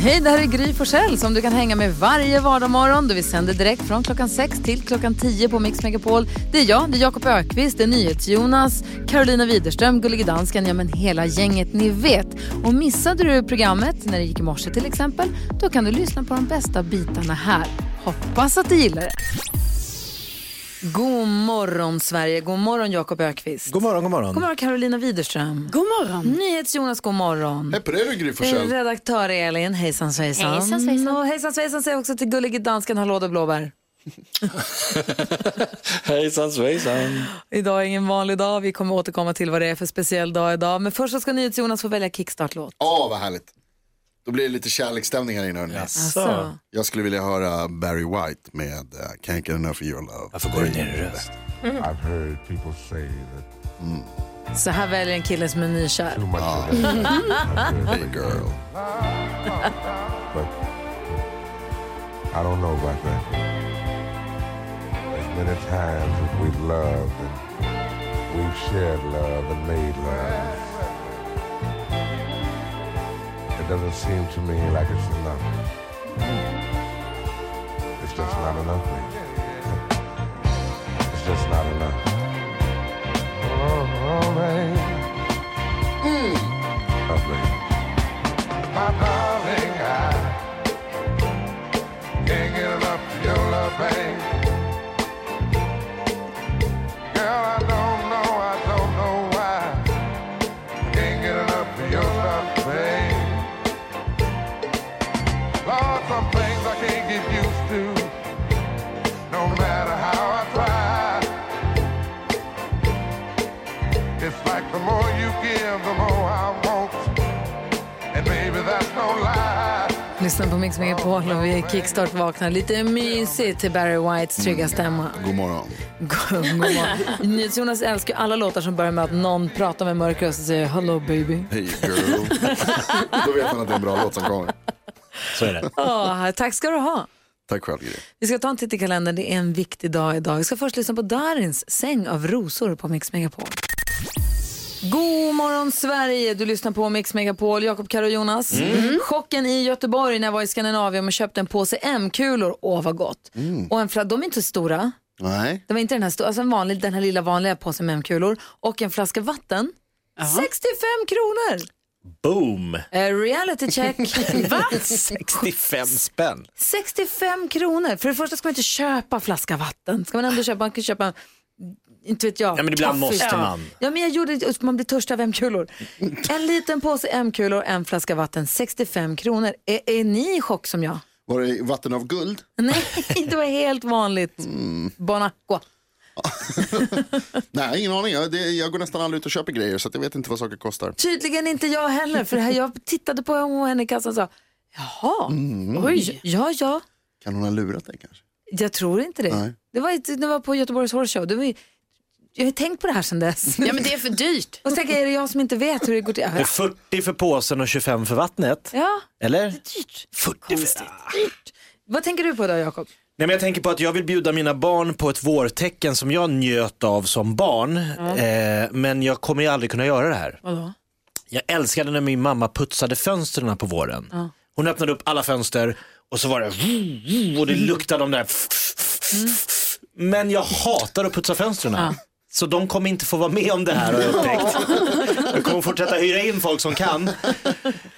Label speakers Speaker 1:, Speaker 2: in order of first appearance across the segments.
Speaker 1: Hej, det här är Gry Forssell som du kan hänga med varje vardagsmorgon. Vi sänder direkt från klockan 6 till klockan 10 på Mix Megapol. Det är jag, det är Jakob Ökvist, det är NyhetsJonas, Carolina Widerström, Gullige Dansken, ja men hela gänget ni vet. Och missade du programmet när det gick i morse till exempel, då kan du lyssna på de bästa bitarna här. Hoppas att du gillar det. God morgon Sverige, god morgon Jakob Ökvist.
Speaker 2: God morgon, god morgon.
Speaker 1: God morgon Carolina Widerström.
Speaker 3: God morgon.
Speaker 1: NyhetsJonas, god morgon.
Speaker 4: Hej på dig Gry Forssell.
Speaker 1: Redaktör Elin, hejsan svejsan.
Speaker 3: Hejsan svejsan.
Speaker 1: Och hejsan svejsan säger också till gullige dansken, hallå där blåbär.
Speaker 5: Hejsan svejsan.
Speaker 1: Idag är ingen vanlig dag, vi kommer återkomma till vad det är för speciell dag idag. Men först så ska NyhetsJonas få välja kickstart-låt.
Speaker 4: Åh vad härligt. Då blir det lite kärleksstämning här inne hörni.
Speaker 1: Alltså.
Speaker 4: Jag skulle vilja höra Barry White med eh, Can't Get Enough of Your Love.
Speaker 5: Varför går du ner i röst?
Speaker 6: I've heard people say that
Speaker 1: Så här väljer en kille som är nykär.
Speaker 6: too much of that,
Speaker 4: Ah. Hey girl.
Speaker 6: but I don't know about that. There's many times that we've loved and we've shared love and made love. It doesn't seem to me like it's enough. It's just not enough. baby. It's just not enough. Oh, oh, baby. Oh, baby. My darling, I can't get enough of your love, babe. Girl, I don't know, I don't know why. Can't get enough of your love, babe. Lord, some things I can't get used to. No matter how I try, it's like the more you give, the more I want. And baby, that's no lie.
Speaker 1: Lyssna på Mix Megapol och vi kickstart vaknar lite mysigt till Barry Whites trygga stämma.
Speaker 4: God morgon.
Speaker 1: God morgon. NyhetsJonas älskar ju alla låtar som börjar med att någon pratar med mörk röst och säger hello baby.
Speaker 4: Hey girl. Då vet man att det är en bra låt som kommer.
Speaker 2: Så är det.
Speaker 1: Åh, tack ska du ha.
Speaker 4: Tack själv Gry.
Speaker 1: Vi ska ta en titt i kalendern, det är en viktig dag idag. Vi ska först lyssna på Darins Säng av rosor på Mix Megapol. God morgon Sverige, du lyssnar på Mix Megapol, Jakob, Karo och Jonas. Mm. Chocken i Göteborg när jag var i Skandinavien och köpte en påse M-kulor, åh vad gott. Och en fla- de är inte så stora,
Speaker 4: Nej.
Speaker 1: det var inte den här, stora, alltså en vanlig, den här lilla vanliga påsen med M-kulor och en flaska vatten. 65 kronor!
Speaker 2: Boom!
Speaker 1: Eh, reality check. Va?
Speaker 2: 65 spänn.
Speaker 1: 65 kronor. För det första ska man inte köpa flaska vatten. Ska man ändå köpa, man kan köpa, inte vet jag.
Speaker 2: Ja, men ibland
Speaker 1: toffee.
Speaker 2: måste man.
Speaker 1: Ja men jag gjorde, man blir törstig av M-kulor. En liten påse M-kulor, en flaska vatten, 65 kronor. Är, är ni i chock som jag?
Speaker 4: Var det vatten av guld?
Speaker 1: Nej, det var helt vanligt. Bon Aqua.
Speaker 4: Nej, ingen aning. Jag, det, jag går nästan aldrig ut och köper grejer så att jag vet inte vad saker kostar.
Speaker 1: Tydligen inte jag heller, för det här, jag tittade på henne i kassan och sa, jaha, oj, ja, ja.
Speaker 4: Kan hon ha lurat dig kanske?
Speaker 1: Jag tror inte det.
Speaker 4: Nej.
Speaker 1: Det var, ett- det var på Göteborgs Horse Show. Det var, ju- jag har tänkt på det här sedan dess.
Speaker 3: Ja, men det är för dyrt.
Speaker 1: Och så tänker jag, är det jag som inte vet hur det går till?
Speaker 2: Det är 40 för påsen och 25 för vattnet.
Speaker 1: Ja,
Speaker 2: Eller?
Speaker 1: dyrt.
Speaker 2: 40 för...
Speaker 1: dyrt. Vad tänker du på då, Jakob?
Speaker 2: Nej, men jag tänker på att jag vill bjuda mina barn på ett vårtecken som jag njöt av som barn. Eh, men jag kommer ju aldrig kunna göra det här.
Speaker 1: Vadå?
Speaker 2: Jag älskade när min mamma putsade fönstren på våren. Hon öppnade upp alla fönster och så var det och
Speaker 1: Mm.
Speaker 2: det luktade de där. Men jag hatar att putsa fönstren. Så de kommer inte få vara med om det här har jag upptäckt. Jag kommer fortsätta hyra in folk som kan.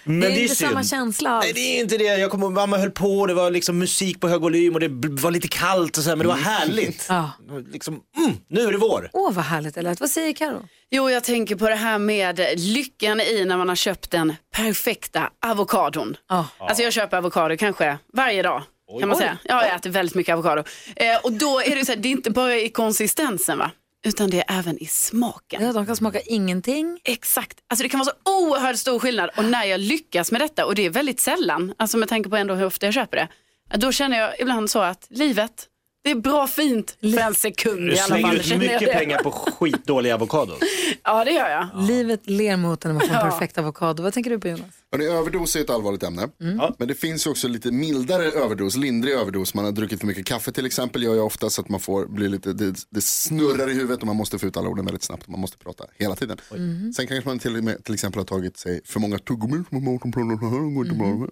Speaker 2: Men det
Speaker 1: Det
Speaker 2: är,
Speaker 1: är, inte
Speaker 2: synd.
Speaker 1: samma känsla alls.
Speaker 2: Nej det är inte det. Jag kommer, ihåg, mamma höll på, det var liksom musik på hög volym och det b- var lite kallt och så här, men det var härligt.
Speaker 1: Ja.
Speaker 2: Det var Liksom, mm, nu är det vår.
Speaker 1: Åh, vad härligt det lät. Vad säger Karo?
Speaker 3: Jo, jag tänker på det här med lyckan i när man har köpt den perfekta avokadon.
Speaker 1: Ja.
Speaker 3: Alltså jag köper avokado kanske varje dag. Kan man säga. Ja, jag äter väldigt mycket avokado. Eh, och då är det så här, det är inte bara i konsistensen va? Utan det är även i smaken.
Speaker 1: Ja, de kan smaka ingenting.
Speaker 3: Exakt. Alltså det kan vara så oerhört stor skillnad. Och när jag lyckas med detta, och det är väldigt sällan, alltså med tanke på ändå hur ofta jag köper det, då känner jag ibland så att livet, det är bra fint för en sekund
Speaker 2: Du
Speaker 3: i alla
Speaker 2: slänger
Speaker 3: fall.
Speaker 2: ut
Speaker 3: känner jag
Speaker 2: mycket
Speaker 3: det.
Speaker 2: pengar på skitdåliga avokadon.
Speaker 3: Ja, det gör jag.
Speaker 1: Livet ler mot en när man får en
Speaker 3: Ja.
Speaker 1: perfekt avokado. Vad tänker du på, Jonas?
Speaker 4: Hörrni, överdos är ett allvarligt ämne.
Speaker 2: Ja.
Speaker 4: Men det finns ju också lite mildare överdos, lindrig överdos. Man har druckit för mycket kaffe till exempel. gör jag ofta så att man får bli lite, det, det snurrar i huvudet och man måste få ut alla orden väldigt snabbt. Man måste prata hela tiden. Sen kanske man till, och med, till exempel har tagit sig för många tuggummin. Mm.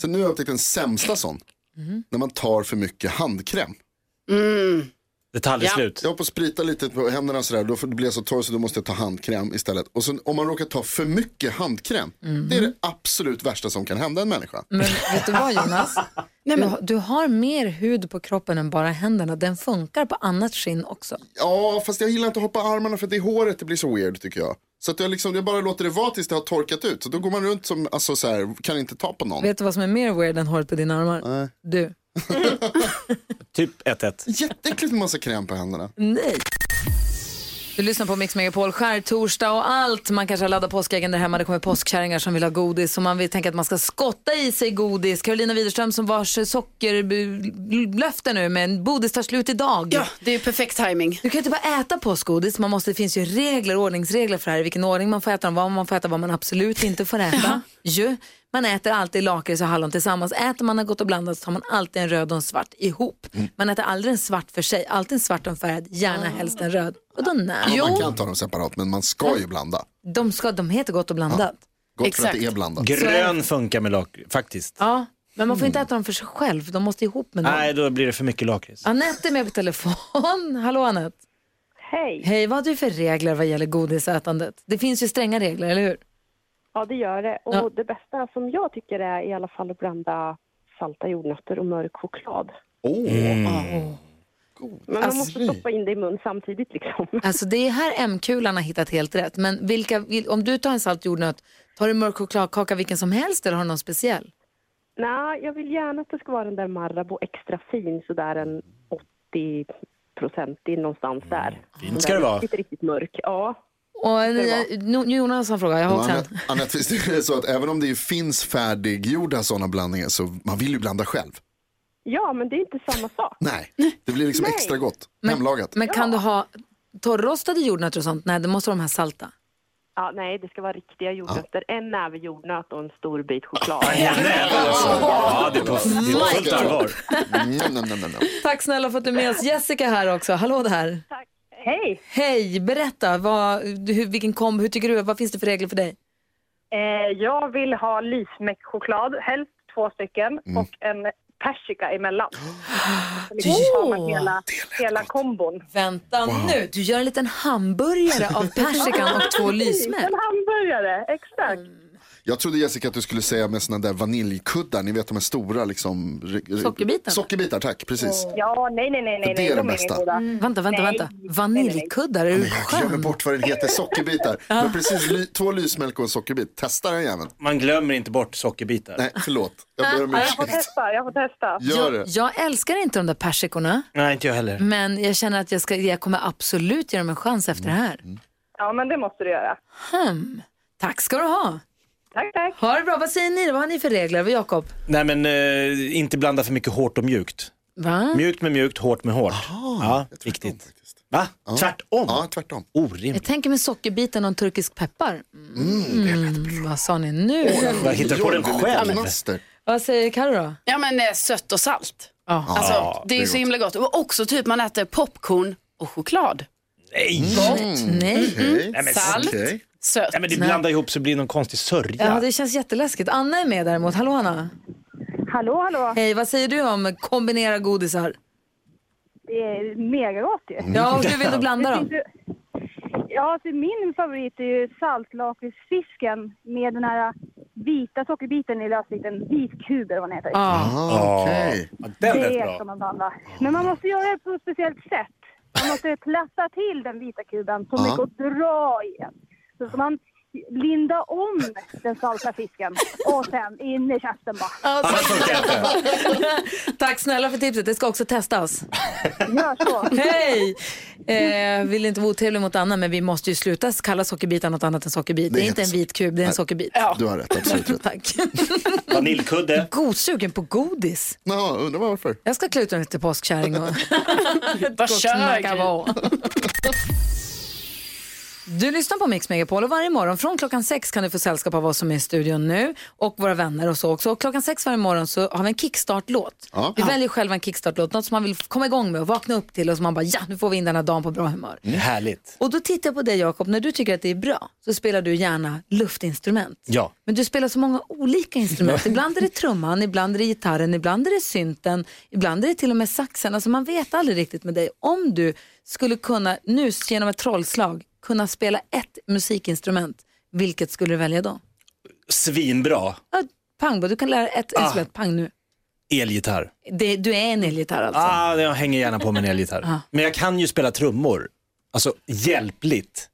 Speaker 4: Så nu har jag upptäckt den sämsta sån. När man tar för mycket handkräm.
Speaker 2: Det tar aldrig
Speaker 3: Ja.
Speaker 2: slut.
Speaker 4: Jag håller på att sprita lite på händerna och sådär. Då blir jag så torr så då måste jag ta handkräm istället. Och sen om man råkar ta för mycket handkräm. Det är det absolut värsta som kan hända en människa.
Speaker 1: Men vet du vad Jonas? Du, du har mer hud på kroppen än bara händerna. Den funkar på annat skinn också.
Speaker 4: Ja, fast jag gillar inte att hoppa armarna för det är håret det blir så weird tycker jag. Så att jag, liksom, jag bara låter det vara tills det har torkat ut. Så då går man runt som, alltså så här, kan inte ta på någon.
Speaker 1: Vet du vad som är mer weird än håret på dina armar? Du.
Speaker 2: Typ 1-1.
Speaker 4: Jätteäckligt med massa kräm på händerna.
Speaker 1: Nej. Du lyssnar på Mix Megapol, skärtorsdag och allt. Man kanske har laddat påskäggen där hemma. Det kommer påskkärringar som vill ha godis och man vill tänka att man ska skotta i sig godis. Carolina Widerström som vars sockerlöfte nu, men bodis tar slut idag.
Speaker 3: Ja, det är ju perfekt timing.
Speaker 1: Du kan inte bara äta påskgodis, man måste, det finns ju regler, ordningsregler för det här, i vilken ordning man får äta dem, vad man får äta, vad man absolut inte får äta. Ju. Man äter alltid lakrits och hallon tillsammans. Äter man har gått och blandat så tar man alltid en röd och en svart ihop.
Speaker 4: Mm.
Speaker 1: Man äter aldrig en svart för sig, alltid en svart och en färgad, gärna helst en röd. Och då nej.
Speaker 4: Man kan ta dem separat men man ska ju blanda.
Speaker 1: De, ska, de heter gott och blandat.
Speaker 4: Gott för att
Speaker 3: Exakt.
Speaker 4: det är blandat.
Speaker 2: Grön funkar med lakrits, faktiskt.
Speaker 1: Ja. Men man får inte äta dem för sig själv, de måste ihop med någon.
Speaker 2: Nej, då blir det för mycket lakrits.
Speaker 1: Anette är med på telefon. Hallå Anette.
Speaker 7: Hej.
Speaker 1: Hej, vad har du för regler vad gäller godisätandet? Det finns ju stränga regler, eller hur?
Speaker 7: Ja, det gör det. Och
Speaker 1: Ja.
Speaker 7: det bästa som jag tycker är i alla fall att blanda salta jordnötter och mörk choklad.
Speaker 4: Åh,
Speaker 7: Men man
Speaker 2: Alltså,
Speaker 7: måste stoppa in det i mun samtidigt liksom.
Speaker 1: Alltså det är här M-kulan har hittat helt rätt. Men vilka, vil- om du tar en salt jordnöt, tar du mörk chokladkaka vilken som helst eller har du någon speciell?
Speaker 7: Nej, jag vill gärna att det ska vara den där Marabou extra fin, sådär en 80 procentig någonstans där.
Speaker 2: Mm. Fint ska det vara.
Speaker 7: Inte riktigt mörk. Ja.
Speaker 1: Och eh, no- Jonas har en fråga, jag har
Speaker 4: Och
Speaker 1: också en.
Speaker 4: Annette, Annette, visst är det så att även om det ju finns färdiggjorda sådana blandningar så man vill ju blanda själv.
Speaker 7: ja, men det är inte samma sak.
Speaker 4: Nej, det blir liksom extra gott. Hemlagat.
Speaker 1: Men kan du ha torrrostade jordnötter och sånt? Nej, det måste vara de här salta.
Speaker 7: Ja, nej, det ska vara riktiga jordnötter. En näve jordnöt och en stor bit choklad.
Speaker 2: Alltså, Ja, det är på, det är på fullt allvar.
Speaker 4: Mm, nej, nej, nej, nej.
Speaker 1: Tack snälla för att du är med oss. Jessica här också, hallå där.
Speaker 7: Hej!
Speaker 1: Hej, berätta, vad, du- hur, vilken kom, hur tycker du, vad finns det för regler för dig?
Speaker 8: Eh, jag vill ha lismäckchoklad, helst två stycken,
Speaker 4: Mm.
Speaker 8: och en persika emellan. Så liksom tar man hela, hela kombon.
Speaker 1: Vänta nu, du gör en liten hamburgare av persikan och två lysmän.
Speaker 8: En hamburgare, exakt.
Speaker 4: Jag trodde Jessica att du skulle säga med sådana där vaniljkuddar, ni vet de här stora liksom.
Speaker 1: Sockerbitar.
Speaker 4: Sockerbitar, tack, precis.
Speaker 8: Ja, nej, nej, nej, nej.
Speaker 4: Det är
Speaker 8: nej,
Speaker 4: det
Speaker 8: de
Speaker 4: bästa.
Speaker 8: goda.
Speaker 1: Vänta, vänta,
Speaker 8: Nej.
Speaker 1: vänta. Vaniljkuddar, är du
Speaker 4: Jag glömmer
Speaker 1: skön?
Speaker 4: bort vad den heter, sockerbitar. Men precis, ly, två lysmjölk och en sockerbit. Testa den jäveln.
Speaker 2: Man glömmer inte bort sockerbitar.
Speaker 4: Nej, förlåt. Jag ber om
Speaker 8: Ja, Jag får
Speaker 4: ursäkt.
Speaker 8: testa, jag får testa.
Speaker 4: Gör det.
Speaker 1: Jag, jag älskar inte de där persikorna,
Speaker 2: Nej, inte jag heller.
Speaker 1: men jag känner att jag, ska, jag kommer absolut ge dem en chans efter det här.
Speaker 4: Mm.
Speaker 8: Ja, men det måste du göra.
Speaker 1: Hmm. Tack ska du ha.
Speaker 8: Tack, tack.
Speaker 1: Ha det bra. Vad säger ni? då? Vad har ni för regler? Vad Jakob?
Speaker 2: Nej, men eh, inte blanda för mycket hårt och mjukt.
Speaker 1: Va?
Speaker 2: Mjukt med mjukt, hårt med hårt. ja, viktigt. Va? Tvärtom?
Speaker 4: Ja, tvärtom.
Speaker 1: Jag
Speaker 2: Orimligt.
Speaker 1: tänker med sockerbiten och en turkisk peppar. Mm, vad sa ni nu?
Speaker 2: Jag hittar på den
Speaker 4: Gör det lite
Speaker 2: själv.
Speaker 4: knaster.
Speaker 1: Vad säger Carro då?
Speaker 3: Ja, men eh, sött och salt.
Speaker 1: Ja.
Speaker 3: Alltså, det är ju så himla gott. Och också typ man äter popcorn och choklad.
Speaker 2: Nej.
Speaker 1: Nej.
Speaker 4: Okej.
Speaker 2: Nej, men,
Speaker 3: Salt,
Speaker 4: Okej.
Speaker 3: sött.
Speaker 2: Nej, Mm. men det blandar ihop så blir det någon konstig sörja.
Speaker 1: Ja, det känns jätteläskigt. Anna är med däremot. Hallå Anna.
Speaker 8: Hallå, hallå.
Speaker 1: Hej, vad säger du om kombinera godisar?
Speaker 8: Det är megagott ju.
Speaker 1: Ja, och hur vill du blanda dem?
Speaker 8: Ja, så min favorit är ju saltlakritsfisken med den här vita sockerbiten i lösvikten, vitkuber vad den heter.
Speaker 1: Ja.
Speaker 4: Ah, Okej.
Speaker 2: Ja, den lät
Speaker 8: Det ska
Speaker 2: bra.
Speaker 8: man blanda. Men man måste göra det på ett speciellt sätt. Man måste platta till den vita kuben så mycket och dra i den. Så ska man linda om den salta fisken och sen in i käften bara.
Speaker 1: Alltså, Tack snälla för tipset. Det ska också testas.
Speaker 8: Gör så.
Speaker 1: Hej! Eh, vill inte vara otrevlig mot Anna, men vi måste ju sluta kalla sockerbitar något annat än sockerbit. Det är inte en vit kub, det är en sockerbit.
Speaker 4: Du har rätt, absolut rätt.
Speaker 1: Tack.
Speaker 2: Vaniljkudde.
Speaker 1: Godsugen på godis.
Speaker 4: Nå, undrar varför.
Speaker 1: Jag ska klä ut mig till påskkärring och
Speaker 3: Vad
Speaker 1: gott
Speaker 3: kör
Speaker 1: snacka
Speaker 3: Gry?
Speaker 1: vara. Du lyssnar på Mix Megapol och varje morgon från klockan sex kan du få sällskap av oss som är i studion nu och våra vänner och så också. Och klockan sex varje morgon så har vi en kickstart-låt.
Speaker 4: Ja.
Speaker 1: Vi väljer själva en kickstart-låt, något som man vill komma igång med och vakna upp till och som man bara ja, nu får vi in den här dagen på bra humör.
Speaker 4: Mm.
Speaker 2: Mm. Härligt.
Speaker 1: Och då tittar jag på dig Jakob, när du tycker att det är bra så spelar du gärna luftinstrument.
Speaker 2: Ja.
Speaker 1: Men du spelar så många olika instrument. Ibland är det trumman, ibland är det gitarren, ibland är det synten, ibland är det till och med saxen. Alltså man vet aldrig riktigt med dig. Om du skulle kunna, nu genom ett trollslag, kunna spela ett musikinstrument, vilket skulle du välja då?
Speaker 2: Svinbra.
Speaker 1: Ja, pang, bara, du kan lära
Speaker 2: Ah.
Speaker 1: ett instrument, pang nu.
Speaker 2: Elgitarr.
Speaker 1: Det, du är en elgitarr alltså?
Speaker 2: Ah, jag hänger gärna på med en elgitarr. Men jag kan ju spela trummor. Alltså hjälpligt.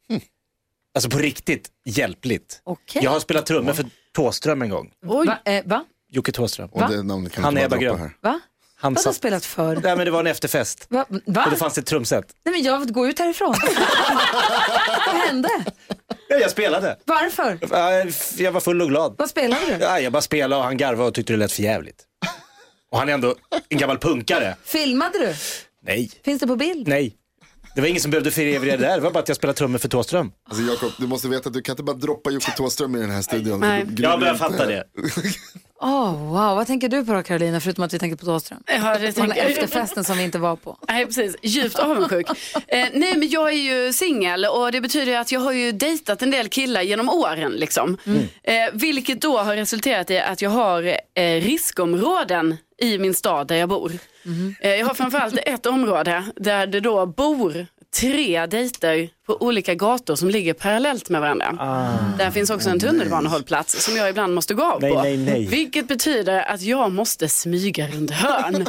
Speaker 2: Alltså på riktigt hjälpligt.
Speaker 1: Okej.
Speaker 2: Jag har spelat trummor för Thåström en gång.
Speaker 3: Oj,
Speaker 1: Va? Eh, va?
Speaker 2: Jocke Thåström.
Speaker 4: Och det namnet kan
Speaker 2: Han
Speaker 4: inte
Speaker 2: är
Speaker 4: bara
Speaker 2: bara
Speaker 4: droppa
Speaker 2: grön.
Speaker 4: här.
Speaker 1: Va?
Speaker 2: Han
Speaker 1: Vad har du
Speaker 2: satt...
Speaker 1: spelat för?
Speaker 2: Nej men det var en efterfest.
Speaker 1: Va? Va?
Speaker 2: Och då fanns det ett trumset.
Speaker 1: Nej men jag går ut härifrån. Vad hände?
Speaker 2: Ja, jag spelade.
Speaker 1: Varför?
Speaker 2: Äh, f- Jag var full och glad.
Speaker 1: Vad spelade du?
Speaker 2: Ja, jag bara spelade och han garvade och tyckte det lät för jävligt. Och han är ändå en gammal punkare.
Speaker 1: Filmade du?
Speaker 2: Nej,
Speaker 1: Finns det på bild?
Speaker 2: nej. Det var ingen som behövde föreviga det där. Det var bara att jag spelade trummor för Thåström.
Speaker 4: Alltså Jakob, du måste veta att du kan inte bara droppa Jocke Thåström i den här studion.
Speaker 3: Nej.
Speaker 4: Du-
Speaker 2: Jag börjar fatta det.
Speaker 1: Åh, wow. Vad tänker du på då Carolina, förutom att vi tänker på Thåström?
Speaker 3: ja, det
Speaker 1: Den
Speaker 3: tänker jag.
Speaker 1: efterfesten som vi inte var på.
Speaker 3: Nej, precis. Djupt avundsjuk. Eh, nej, men jag är ju singel och det betyder ju att jag har ju dejtat en del killar genom åren. Liksom.
Speaker 2: Mm.
Speaker 3: Eh, vilket då har resulterat i att jag har eh, riskområden i min stad där jag bor.
Speaker 2: Mm-hmm.
Speaker 3: Eh, jag har framförallt ett område där det då bor tre dejter på olika gator som ligger parallellt med varandra. Där finns också en tunnelbanehållplats som jag ibland måste gå av
Speaker 2: Ah. Nej,
Speaker 3: på.
Speaker 2: nej, nej.
Speaker 3: Vilket betyder att jag måste smyga runt hörn.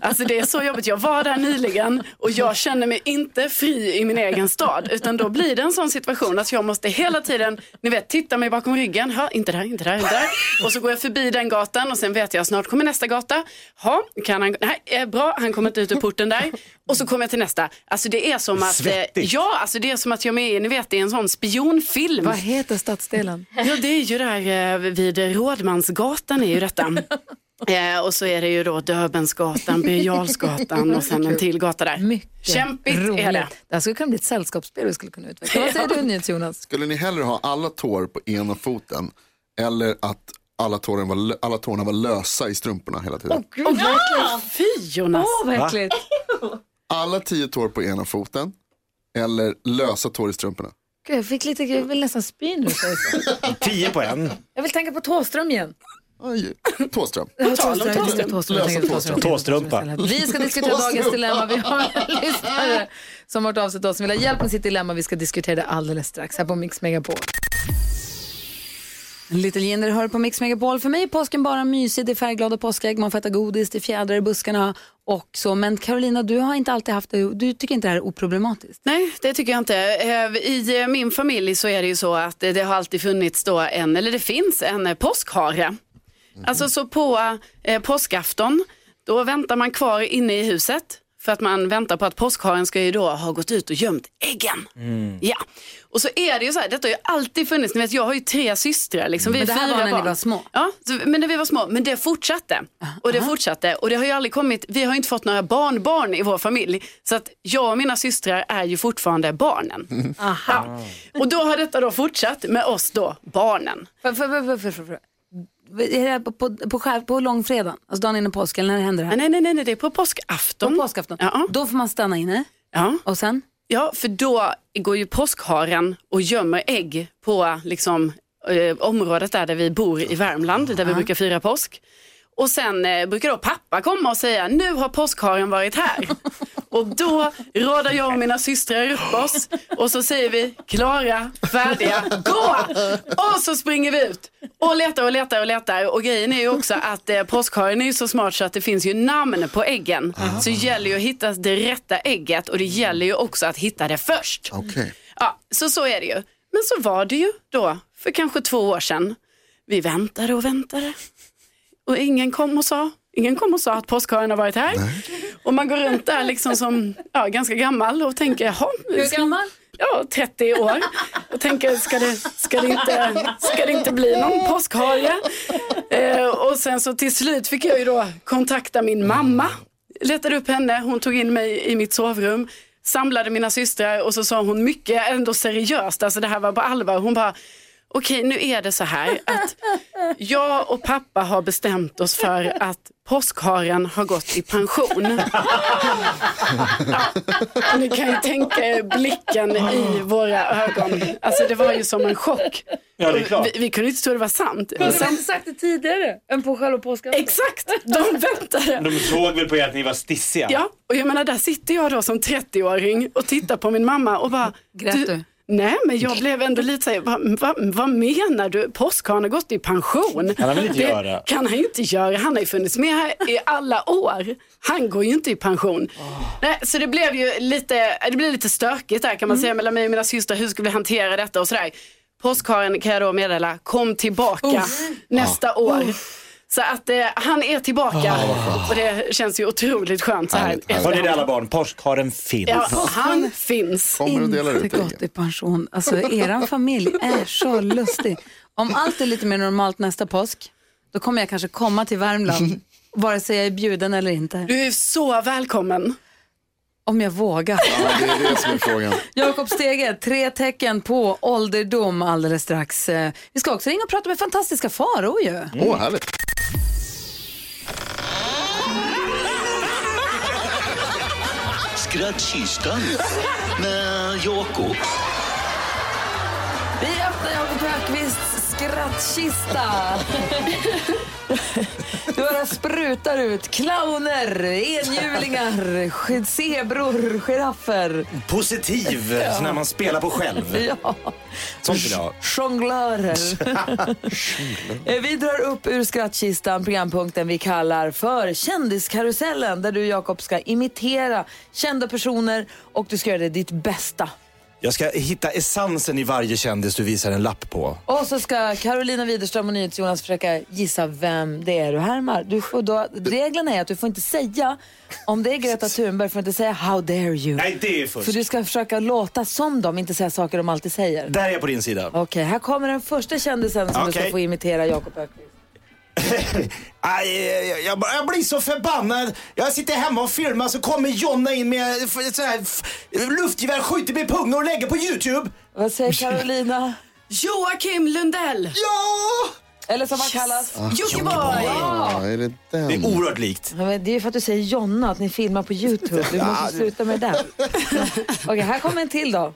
Speaker 3: Alltså det är så jobbigt. Jag var där nyligen och jag känner mig inte fri i min egen stad. Utan då blir det en sån situation att jag måste hela tiden, ni vet, titta mig bakom ryggen. Ha, inte där, inte där, inte där. Och så går jag förbi den gatan och sen vet jag snart kommer nästa gata. Ha, kan han, nej, eh, bra, han kommer inte ut ur porten där. Och så kommer jag till nästa. Alltså det är som att, eh,
Speaker 2: Svettigt.
Speaker 3: ja, alltså det är som att jag är med i, ni vet, i en sån spionfilm.
Speaker 1: Vad heter stadsdelen?
Speaker 3: Ja, det är ju där eh, vid Rådmansgatan är ju detta. Eh, och så är det ju då Döbensgatan, Birger Jarlsgatan och sen en till gata där.
Speaker 1: Mycket
Speaker 3: Kämpigt
Speaker 1: roligt.
Speaker 3: är det.
Speaker 1: Det här skulle kunna bli ett sällskapsspel vi skulle kunna utveckla. Vad säger du NyhetsJonas?
Speaker 4: Skulle ni hellre ha alla tår på ena foten eller att alla, tåren var, lö- alla tårna var lösa i strumporna hela tiden?
Speaker 3: Åh, fy Jonas.
Speaker 1: Åh, vad äckligt.
Speaker 4: Alla tio tår på ena foten eller lösa tår i strumporna?
Speaker 1: Gud, jag fick lite, jag vill nästan spy nu. säger jag så.
Speaker 2: Tio på en.
Speaker 1: Jag vill tänka på Thåström igen.
Speaker 4: Oj, Thåström.
Speaker 1: Jag tänker på Thåström, jag tänker på
Speaker 4: Lösa
Speaker 1: Thåström.
Speaker 2: Tåstrumpa.
Speaker 1: Vi ska diskutera
Speaker 4: Tåstrumpa.
Speaker 1: dagens dilemma. Vi har en lyssnare som har hört av sig till oss som vill ha hjälp med sitt dilemma. Vi ska diskutera det alldeles strax här på Mix Megapol. Little Jinder hör på Mix Megapol. För mig är påsken bara mysig. Det är färgglada påskägg, man får äta godis, det är fjädrar i buskarna och så. Men Carolina, du har inte alltid haft det. Du tycker inte det här är oproblematiskt?
Speaker 3: Nej, det tycker jag inte. Eh, I eh, min familj så är det ju så att eh, det har alltid funnits då en, eller det finns en eh, påskhare. Alltså så på eh, påskafton, då väntar man kvar inne i huset för att man väntar på att påskharen ska ju då ha gått ut och gömt äggen.
Speaker 1: Mm.
Speaker 3: Ja, och så är det ju så här, detta har ju alltid funnits, ni vet jag har ju tre systrar. Liksom. Vi
Speaker 1: Mm. Men
Speaker 3: är
Speaker 1: det här
Speaker 3: fyra
Speaker 1: var när ni
Speaker 3: barn.
Speaker 1: var små? Ah,
Speaker 3: Ja, så- men när vi var små. Men det fortsatte. Och det fortsatte. Och det har ju aldrig kommit, vi har ju inte fått några barnbarn i vår familj. Så att jag och mina systrar är ju fortfarande barnen. Aha. Och då har detta då fortsatt med oss då, barnen.
Speaker 1: För, för, för, för, för, för, för. Är det här på, på, på, skär, på långfredagen, alltså dagen innan påsk, eller när händer det här?
Speaker 3: Nej, nej, nej, nej det är på påskafton.
Speaker 1: På påskafton?
Speaker 3: Ja.
Speaker 1: Då får man stanna inne
Speaker 3: Ja.
Speaker 1: och sen?
Speaker 3: ja, för då går ju påskharen och gömmer ägg på liksom, eh, området där, där vi bor i Värmland, där vi brukar fira påsk. Och sen eh, brukar då pappa komma och säga, nu har påskharen varit här. och då radar jag och mina systrar upp oss och så säger vi, klara, färdiga, gå! Och så springer vi ut och letar och letar och letar. Och grejen är ju också att eh, påskharen är ju så smart så att det finns ju namn på äggen. Så det gäller ju att hitta det rätta ägget och det gäller ju också att hitta det först.
Speaker 4: Okej.
Speaker 3: Ja, så så är det ju. Men så var det ju då, för kanske två år sedan. Vi väntade och väntade. Och ingen kom och sa, ingen kom och sa att påskaren har varit här. Och man går runt där liksom som ja, ganska gammal och tänker, jaha,
Speaker 1: Hur gammal?
Speaker 3: ja, 30 år. Och tänker, ska det, ska det, inte, ska det inte bli någon påskhare? Eh, och sen så till slut fick jag ju då kontakta min mamma. Letade upp henne, hon tog in mig i mitt sovrum. samlade mina systrar och så sa hon mycket ändå seriöst, alltså det här var på allvar. Hon bara, okej nu är det så här att jag och pappa har bestämt oss för att påskharen har gått i pension. Ja, Ni kan ju tänka er blicken i våra ögon. Alltså det var ju som en chock.
Speaker 2: Ja, det är klart.
Speaker 3: Vi, vi kunde inte tro det var sant.
Speaker 9: Kunde
Speaker 3: Sen-
Speaker 9: du inte sagt det tidigare än på själva påskafton?
Speaker 3: Exakt, de väntade.
Speaker 2: De såg väl på er att ni var stissiga?
Speaker 3: Ja, och jag menar där sitter jag då som 30-åring och tittar på min mamma och bara...
Speaker 1: Grät du?
Speaker 3: Nej, men jag blev ändå lite såhär, vad, vad, vad menar du? Påskaren har gått i pension.
Speaker 2: Kan han väl inte
Speaker 3: det
Speaker 2: göra?
Speaker 3: kan han ju inte göra. Han har ju funnits med här i alla år. Han går ju inte i pension. Nej, så det blev ju lite, det blev lite stökigt där kan man säga mellan mig och mina systrar. Hur skulle vi hantera detta och sådär. Påskharen kan jag då meddela, kom tillbaka nästa år. Så att eh, han är tillbaka och det känns ju otroligt skönt så här.
Speaker 4: Härligt, härligt.
Speaker 2: Hörde ni alla barn, påskharen finns.
Speaker 3: Ja, han finns.
Speaker 4: Kommer och delar ut
Speaker 1: Inte gått
Speaker 4: äggen.
Speaker 1: i pension. Alltså, eran familj är så lustig. Om allt är lite mer normalt nästa påsk, då kommer jag kanske komma till Värmland, vare sig jag är bjuden eller inte.
Speaker 3: Du är så välkommen.
Speaker 1: Om jag vågar.
Speaker 4: Ja, det är det som är frågan.
Speaker 1: Jakob Stege, tre tecken på ålderdom alldeles strax. Eh, Vi ska också ringa och prata med fantastiska Farao ju.
Speaker 4: Åh, härligt.
Speaker 10: Skrattkistan med Jakob.
Speaker 1: Vi öppnar Jakob Högqvists skrattkista. Några sprutar ut clowner, enhjulingar, sk- zebror, giraffer,
Speaker 2: Mm. Positiv, så när man spelar på själv.
Speaker 1: ja,
Speaker 2: Sånt vill jag ha.
Speaker 1: jonglörer. Eh, vi drar upp ur skrattkistan programpunkten vi kallar för Kändiskarusellen där du Jakob ska imitera kända personer och du ska göra det ditt bästa.
Speaker 2: Jag ska hitta essensen i varje kändis du visar en lapp på.
Speaker 1: Och så ska Carolina Widerström och NyhetsJonas försöka gissa vem det är du härmar. Du får då, reglerna är att du får inte säga, om det är Greta Thunberg, får du inte säga how dare you.
Speaker 2: Nej, det är
Speaker 1: För
Speaker 2: först.
Speaker 1: du ska försöka låta som dem, inte säga saker de alltid säger. Okej,
Speaker 2: Där är jag på din sida.
Speaker 1: här kommer den första kändisen som du ska
Speaker 2: Okej.
Speaker 1: få imitera, Jakob Öqvist.
Speaker 2: Aj, jag, jag, jag blir så förbannad. Jag sitter hemma och filmar så kommer Jonna in med eh, f- så här, f- luftgevär, skjuter med pungen och lägger på YouTube.
Speaker 1: Vad säger Carolina?
Speaker 3: Joakim Lundell,
Speaker 2: Ja!
Speaker 1: Eller som han kallas.
Speaker 3: Jockiboi.
Speaker 4: Ja, är det
Speaker 2: Det är
Speaker 4: den?
Speaker 2: oerhört likt.
Speaker 1: Ja, men det är ju för att du säger Jonna, att ni filmar på YouTube. Du måste sluta med det. Okej, här kommer en till då.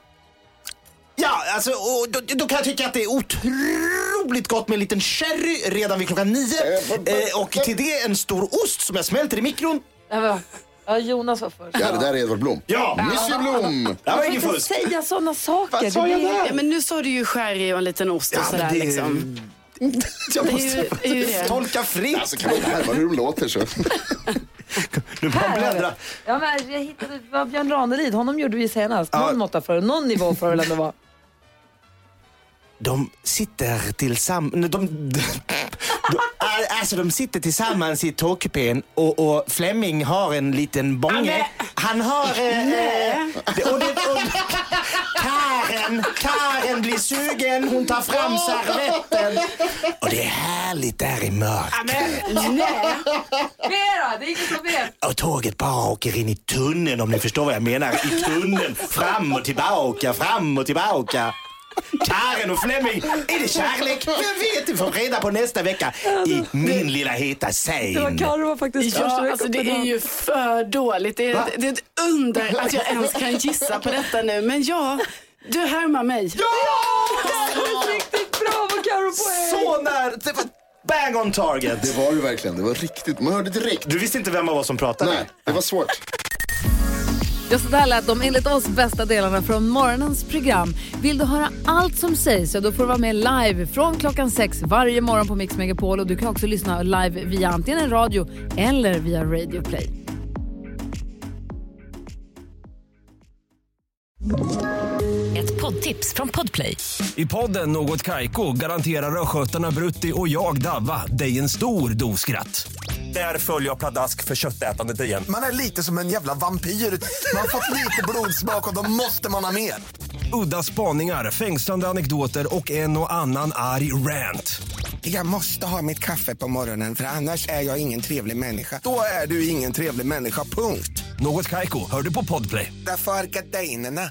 Speaker 2: Ja, alltså, och då, då kan jag tycka att det är otroligt gott med en liten sherry redan vid klockan nio. Eh, och till det en stor ost som jag smälter i mikron.
Speaker 1: Ja, men- Ja, Jonas var först.
Speaker 4: Ja, det där är Edvard Blom.
Speaker 2: Ja!
Speaker 4: Monsieur Blom!
Speaker 2: Det här var
Speaker 1: Du
Speaker 2: ingen
Speaker 1: får inte
Speaker 2: fusk.
Speaker 1: säga sådana saker.
Speaker 4: Vad sa
Speaker 1: Det
Speaker 4: jag
Speaker 1: blir-
Speaker 4: där?
Speaker 3: Ja, men nu sa du ju sherry och en liten ost och
Speaker 2: Ja, men
Speaker 3: sådär.
Speaker 2: det-
Speaker 3: Liksom.
Speaker 2: Jag
Speaker 3: Det är ju,
Speaker 2: måste
Speaker 3: är ju det.
Speaker 2: tolka fritt.
Speaker 4: Alltså kan man härma hur de låter så.
Speaker 2: Nu bara bläddra.
Speaker 1: Ja, men jag hittade det var Björn Ranelid. Honom gjorde vi senast.
Speaker 2: Ja.
Speaker 1: Någon måtta för någon nivå för väl ändå vara.
Speaker 2: De sitter tillsammans... De, de, de, alltså de sitter tillsammans i tågkupén och, och Flemming har en liten bånge. Han har... Eh, eh, och det, och, Karen, Karen blir sugen. Hon tar fram servetten. Och det är härligt där i mörkret.
Speaker 1: Mera, det är ingen som vet.
Speaker 2: Och tåget bara åker in i tunneln om ni förstår vad jag menar. I tunneln, fram och tillbaka, fram och tillbaka. Karen och Flemming, är det kärlek? Jag vet, vi får reda på nästa vecka i Min lilla heta
Speaker 1: Det var
Speaker 2: säng.
Speaker 1: Carro var faktiskt först.
Speaker 3: Ja, alltså det är ju för dåligt. Det är, det är ett under att jag ens kan gissa på detta nu. Men ja, du härmar mig.
Speaker 1: riktigt bra. Vad Carro på er.
Speaker 2: Så nära, det var bang on target.
Speaker 4: Det var ju verkligen, det var riktigt. Man hörde direkt.
Speaker 2: Du visste inte vem av oss som pratade?
Speaker 4: Nej, det var svårt.
Speaker 1: Ja, så där lät de enligt oss bästa delarna från morgonens program. Vill du höra allt som sägs så då får du vara med live från klockan sex varje morgon på Mix Megapol. Och du kan också lyssna live via antingen radio eller via Radio Play.
Speaker 11: Ett poddtips från Podplay.
Speaker 5: I podden Något Kaiko garanterar östgötarna Brutti och jag, Davva, dig en stor dos skratt. Där följer jag pladask för köttätandet igen.
Speaker 12: Man är lite som en jävla vampyr. Man har fått lite blodsmak och då måste man ha mer.
Speaker 5: Udda spaningar, fängslande anekdoter och en och annan arg rant.
Speaker 12: Jag måste ha mitt kaffe på morgonen för annars är jag ingen trevlig människa. Då är du ingen trevlig människa, punkt.
Speaker 13: Något Kaiko, hör du på Podplay.
Speaker 6: Därför arkadeinerna.